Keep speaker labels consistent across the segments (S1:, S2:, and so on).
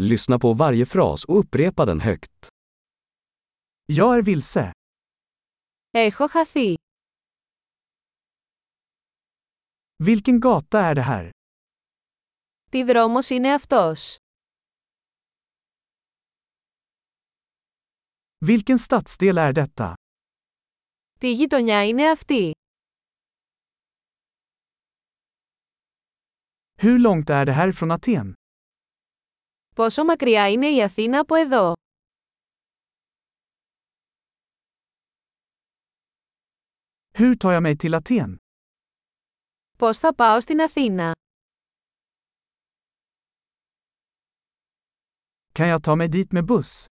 S1: Lyssna på varje fras och upprepa den högt. Jag är vilse.
S2: Έχω χαθεί.
S1: Vilken gata är det här?
S2: Τι δρόμος είναι αυτός?
S1: Vilken stadsdel är detta?
S2: Τι γειτονιά είναι αυτή?
S1: Hur långt är det här från Aten?
S2: Πόσο μακριά είναι η Αθήνα από εδώ?
S1: Hur tar jag mig till Aten?
S2: Πώς θα πάω στην Αθήna?
S1: Kan jag ta mig dit med buss?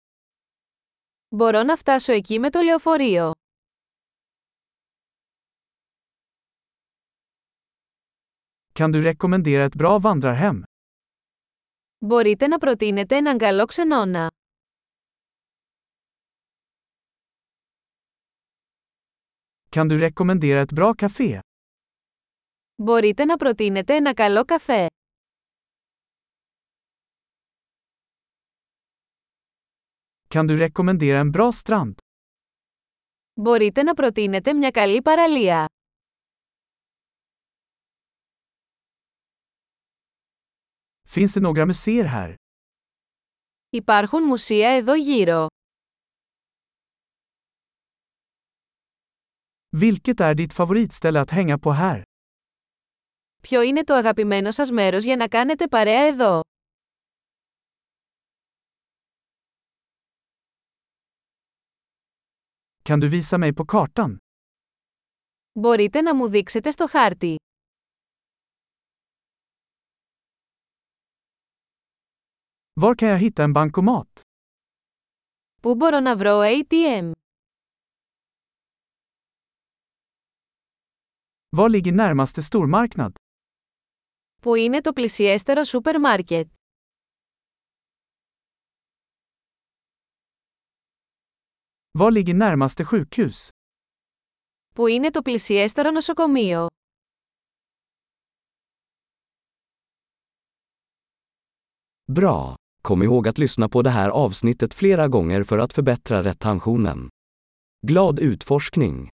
S2: Μπορώ να φτάσω εκεί με το λεωφορείο.
S1: Kan du rekommendera ett bra vandrarhem?
S2: Μπορείτε να προτείνετε έναν καλό ξενώνα.
S1: Kan du rekommendera ett bra café?
S2: Μπορείτε να προτείνετε ένα καλό καφέ.
S1: Kan du rekommendera en bra strand?
S2: Μπορείτε να προτείνετε μια καλή παραλία.
S1: Finns det några museer här?
S2: Υπάρχουν μουσεία εδώ γύρω.
S1: Vilket är ditt favoritställe att hänga på här?
S2: Ποιο είναι το αγαπημένο σας μέρος για να κάνετε παρέα εδώ?
S1: Kan du visa mig på kartan?
S2: Μπορείτε να μου δείξετε στο χάρτη.
S1: Var kan jag hitta en bankomat?
S2: Πού μπορώ να βρω ATM?
S1: Var ligger närmaste stormarknad?
S2: Πού είναι το πλησιέστερο σούπερ μάρκετ?
S1: Var ligger närmaste sjukhus?
S2: Πού είναι το πλησιέστερο νοσοκομείο?
S3: Bra! Kom ihåg att lyssna på det här avsnittet flera gånger för att förbättra retentionen. Glad utforskning!